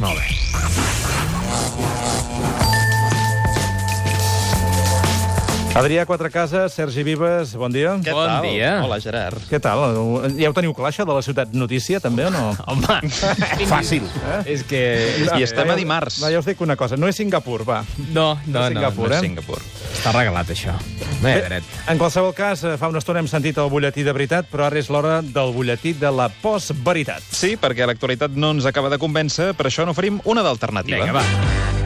Molt bé. Adrià Quatrecases, Sergi Vives, bon dia. Què Bon tal? dia. Hola, Gerard. Què tal? Ja ho teniu clar, això de la ciutat notícia, també, o no? Home, Fàcil. és que... I estem a dimarts. Va, ja us dic una cosa, no és Singapur, va. No, no, no, Singapur, no, eh? Singapur. està regalat, això. Bé, dret. En qualsevol cas, eh, fa una estona hem sentit el butlletí de veritat, però ara és l'hora del butlletí de la postveritat. Sí, perquè l'actualitat no ens acaba de convèncer, per això n'oferim una d'alternativa. Vinga, va.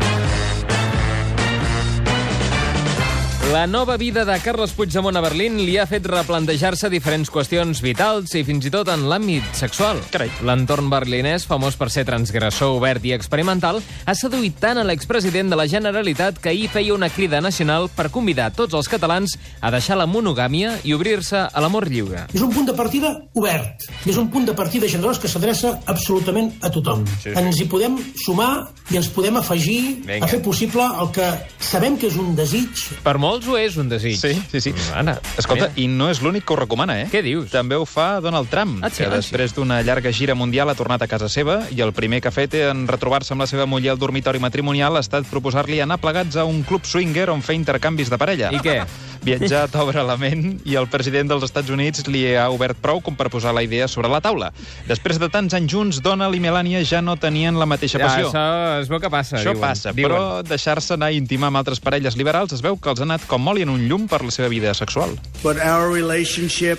La nova vida de Carles Puigdemont a Berlín li ha fet replantejar-se diferents qüestions vitals i fins i tot en l'àmbit sexual. Carai. L'entorn berlinès, famós per ser transgressor obert i experimental, ha seduït tant a l'expresident de la Generalitat que ahir feia una crida nacional per convidar tots els catalans a deixar la monogàmia i obrir-se a l'amor lliure. És un punt de partida obert, i és un punt de partida generós que s'adreça absolutament a tothom. Sí, sí. Ens hi podem sumar i ens podem afegir Vinga. a fer possible el que sabem que és un desig, Per molts ho és un desig. Sí, sí, sí. Ara, Escolta, mira. i no és l'únic que ho recomana, eh? Què dius? També ho fa Donald Trump, Ah, sí, que ah, sí. després d'una llarga gira mundial ha tornat a casa seva i el primer que ha fet en retrobar-se amb la seva muller al dormitori matrimonial ha estat proposar-li anar plegats a un club swinger on fer intercanvis de parella. I què? Viatjar t'obre la ment i el president dels Estats Units li ha obert prou com per posar la idea sobre la taula. Després de tants anys junts, Donald i Melania ja no tenien la mateixa Ja, passió. això es veu que passa, Això diuen. passa, diuen. però deixar-se anar i intimar amb altres parelles liberals es veu que els ha anat com oli en un llum per la seva vida sexual. But our relationship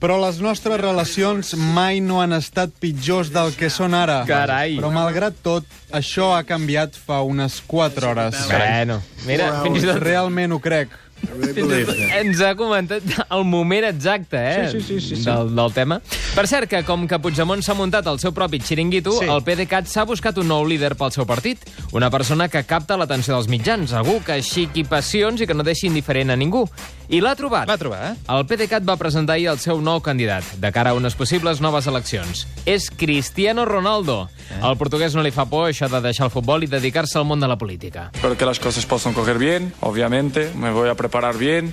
Però les nostres relacions mai no han estat pitjors del que són ara. Carai. Però malgrat tot, això ha canviat fa unes 4 hores. Bueno, mira, fins i tot Realment ho crec. ens ha comentat el moment exacte, eh? Sí, sí, sí, sí, sí. Del, del tema. Per cert, que com que Puigdemont s'ha muntat el seu propi xiringuito, Sí. sí. el PDeCAT s'ha buscat un nou líder pel seu partit. Una persona que capta l'atenció dels mitjans, algú que xiqui passions i que no deixi indiferent a ningú. I l'ha trobat. L'ha trobat, eh? El PDeCAT va presentar ahir el seu nou candidat, de cara a unes possibles noves eleccions. És Cristiano Ronaldo. Eh? Al portuguès no li fa por això de deixar el futbol i dedicar-se al món de la política. Espero que las cosas puedan coger bien, obviamente, me voy a preparar bien.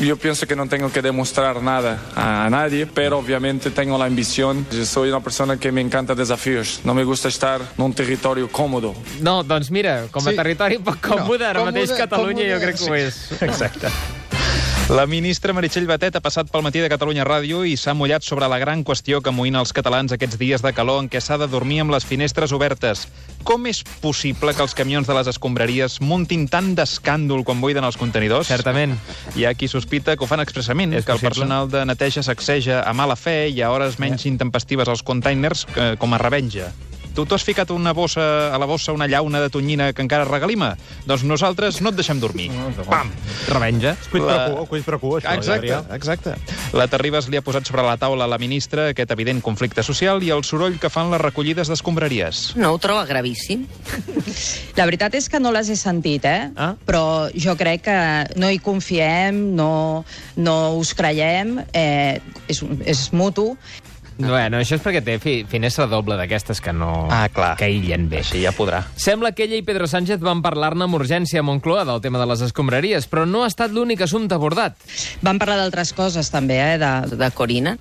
Yo pienso que no tengo que demostrar nada a nadie, pero obviamente tengo la ambición. Yo soy una persona que me encanta desafíos, no me gusta estar en un territorio cómodo. No, doncs mira, com a sí. territori poc còmode, no, ara mateix Catalunya jo crec que ho és. Exacte. La ministra Meritxell Batet ha passat pel matí de Catalunya Ràdio i s'ha mullat sobre la gran qüestió que amoïna els catalans aquests dies de calor en què s'ha de dormir amb les finestres obertes. Com és possible que els camions de les escombraries muntin tant d'escàndol quan buiden els contenidors? Certament. Hi ha qui sospita que ho fan expressament, És que el possible. personal de neteja sacseja a mala fe i a hores menys intempestives als containers eh, com a revenja. Tu t'has ficat una bossa, a la bossa una llauna de tonyina que encara regalima? Doncs nosaltres no et deixem dormir. Pam! Revenja. Cuit La- la... per cua, cuit per cua, això, Exacte, Adrià. exacte. La Terribas li ha posat sobre la taula a la ministra aquest evident conflicte social i el soroll que fan les recollides d'escombraries. No, ho troba gravíssim. La veritat és que no les he sentit, eh? Ah. Però jo crec que no hi confiem, no, no us creiem, eh, és, és mutu. Bueno, això és perquè té fi, finestra doble d'aquestes que no... Ah, clar. Que aïllen bé. Així ja podrà. Sembla que ella i Pedro Sánchez van parlar-ne amb urgència a Moncloa del tema de les escombraries, però no ha estat l'únic assumpte abordat. Van parlar d'altres coses, també, eh? De, de Corina.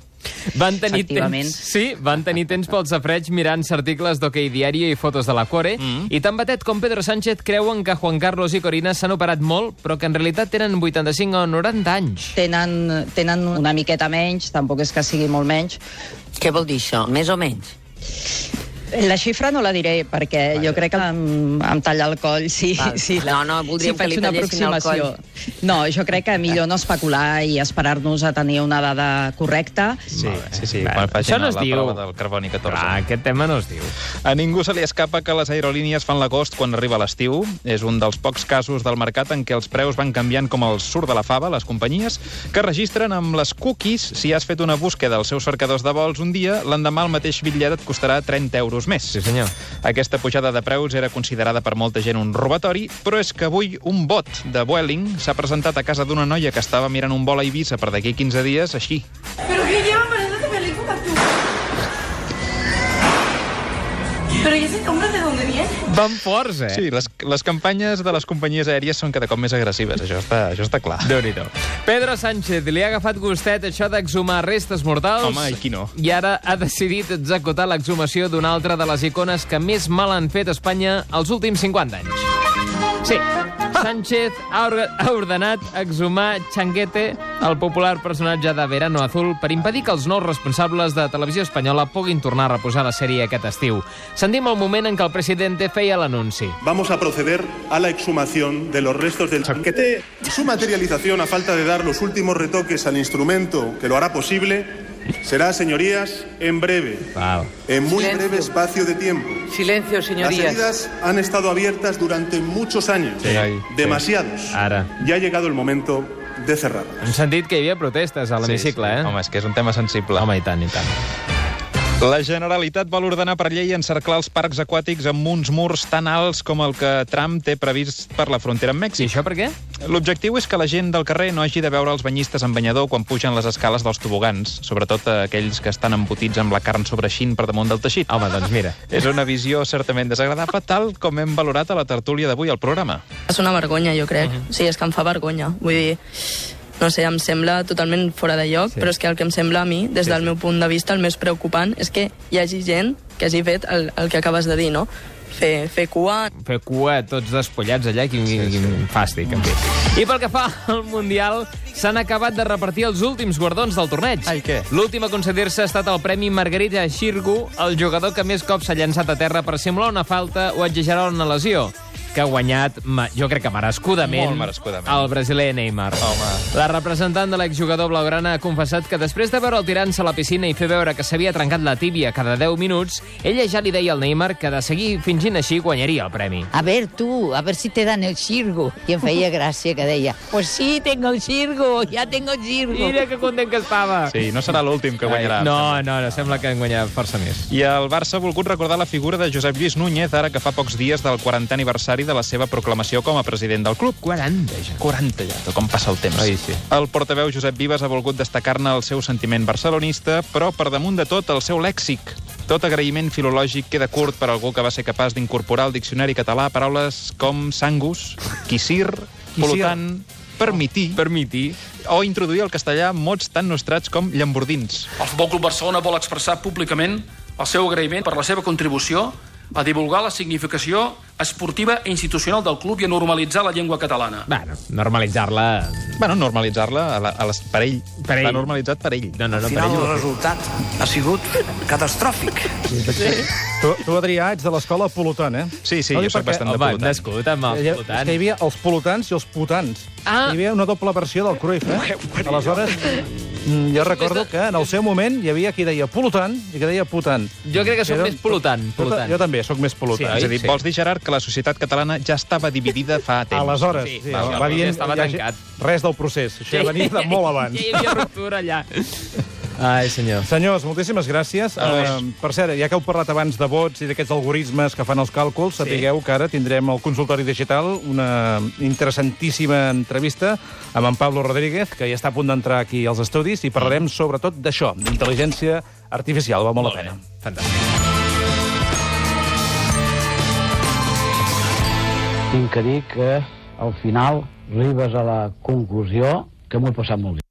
Van tenir Efectivament. temps, sí, van tenir temps pel safreig mirant articles d'Hockey Diario i fotos de la Core, mm. i tant Batet com Pedro Sánchez creuen que Juan Carlos i Corina s'han operat molt, però que en realitat tenen 85 o 90 anys. Tenen, tenen una miqueta menys, tampoc és que sigui molt menys. Què vol dir això? Més o menys? La xifra no la diré, perquè jo crec que em, em talla el coll si, Val. si, No, no, voldríem si que faig li una tallessin el aproximació. No, jo crec que millor no especular i esperar-nos a tenir una dada correcta. Sí, sí, sí. Bueno, Quan això facin no es la diu. prova del carboni 14. Clar, aquest tema no es diu. A ningú se li escapa que les aerolínies fan l'agost quan arriba l'estiu. És un dels pocs casos del mercat en què els preus van canviant com el surt de la fava, les companyies, que registren amb les cookies si has fet una búsqueda als seus cercadors de vols un dia, l'endemà el mateix bitllet et costarà 30 euros més. Sí, senyor. Aquesta pujada de preus era considerada per molta gent un robatori, però és que avui un bot de Vueling s'ha presentat a casa d'una noia que estava mirant un vol a Eivissa per d'aquí 15 dies, així. Pero que llevan pareciendo película tú. Pero ¿y ese hombre de dónde viene? Van forts, eh? Sí, les, les campanyes de les companyies aèries són cada cop més agressives, això està, això està clar. déu nhi Pedro Sánchez li ha agafat gustet això d'exhumar restes mortals. Home, i qui no? I ara ha decidit executar l'exhumació d'una altra de les icones que més mal han fet a Espanya els últims 50 anys. Sí, Sánchez ha, orga- ha ordenat exhumar Changuete, el popular personatge de Verano Azul, per impedir que els nous responsables de Televisió Espanyola puguin tornar a reposar la sèrie aquest estiu. Sentim el moment en què el president feia l'anunci. Vamos a proceder a la exhumación de los restos del chanquete. Su materialización, a falta de dar los últimos retoques al instrumento que lo hará posible, será, señorías, en breve. En muy Silencio. breve espacio de tiempo. Silencio, Las señorías. heridas han estado abiertas durante muchos años. demasiados. Ah. Ara. Ya ha llegado el momento de cerrar. Hem sentit que hi havia protestes a l'hemicicle, sí, sí. eh? Home, és que és un tema sensible. Home, i tant, i tant. La Generalitat vol ordenar per llei encerclar els parcs aquàtics amb uns murs tan alts com el que Trump té previst per la frontera amb Mèxic. I això per què? L'objectiu és que la gent del carrer no hagi de veure els banyistes en banyador quan pugen les escales dels tobogans, sobretot eh, aquells que estan embotits amb la carn sobreixint per damunt del teixit. Home, doncs mira. És una visió certament desagradable, tal com hem valorat a la tertúlia d'avui al programa. És una vergonya, jo crec. O sigui, és que em fa vergonya. Vull dir, no sé, em sembla totalment fora de lloc, sí. però és que el que em sembla a mi, des del meu punt de vista, el més preocupant és que hi hagi gent que hagi fet el, el que acabes de dir, no? Fer, fer cua... fer cua tots despullats allà, quin, sí, quin sí. fàstic, en fi. I pel que fa al Mundial, s'han acabat de repartir els últims guardons del torneig. Ai, què? L'últim a concedir-se ha estat el Premi Margarita Xirgu, el jugador que més cops s'ha llançat a terra per simular una falta o exagerar una lesió que ha guanyat, ma- jo crec que merescudament, Molt merescudament. el brasiler Neymar. Home. La representant de l'exjugador blaugrana ha confessat que després de veure el tirant-se a la piscina i fer veure que s'havia trencat la tíbia cada 10 minuts, ella ja li deia al Neymar que de seguir fingint així guanyaria el premi. A ver, tú, a ver si te dan el cirgo. I em feia gràcia que deia, pues sí, tengo el cirgo, ja tengo el cirgo. Mira que content que estava. Sí, no serà l'últim que guanyarà. No, no, no, sembla que han guanyat força més. I el Barça ha volgut recordar la figura de Josep Lluís Núñez, ara que fa pocs dies del 40 aniversari de la seva proclamació com a president del club. 40 ja. 40 ja, com passa el temps. Ai, sí. El portaveu Josep Vives ha volgut destacar-ne el seu sentiment barcelonista, però per damunt de tot el seu lèxic. Tot agraïment filològic queda curt per algú que va ser capaç d'incorporar al diccionari català paraules com sangus, quisir, polotant, permitir, permitir o introduir al castellà mots tan nostrats com llambordins. El Futbol Club Barcelona vol expressar públicament el seu agraïment per la seva contribució a divulgar la significació esportiva i institucional del club i a normalitzar la llengua catalana. Bueno, normalitzar-la... Bueno, normalitzar-la a la- a les- per ell. Per ell. L'ha normalitzat per ell. No, no, no, final, el resultat ha sigut catastròfic. Tu, tu, Adrià, ets de l'escola polotant, eh? Sí, sí, jo soc bastant de Home, polotant. nascut amb els Hi ha- putans. és que hi havia els polotants i els putans. Ah. Hi havia una doble versió del Cruyff, eh? Aleshores, mm, jo recordo que en el seu moment hi havia qui deia polotant i que deia putant. Jo crec que sóc Era- més polotant, Jo ta- polotant. Jo també sóc més Sí, polotant. és a dir, vols dir, Gerard, que la societat catalana ja estava dividida fa temps. Aleshores, sí, sí, va dient... estava hi ha tancat. Res del procés, això ja venia de molt abans. Ja hi havia ruptura allà. Ai, senyor. Senyors, moltíssimes gràcies. Uh, per cert, ja que heu parlat abans de vots i d'aquests algoritmes que fan els càlculs, sí. sapigueu que ara tindrem al consultori digital una interessantíssima entrevista amb en Pablo Rodríguez, que ja està a punt d'entrar aquí als estudis, i parlarem sobretot d'això, d'intel·ligència artificial. Val Mm. molt, molt la pena. Fantàstic. Tinc que dir que al final arribes a la conclusió que m'ho he passat molt bé.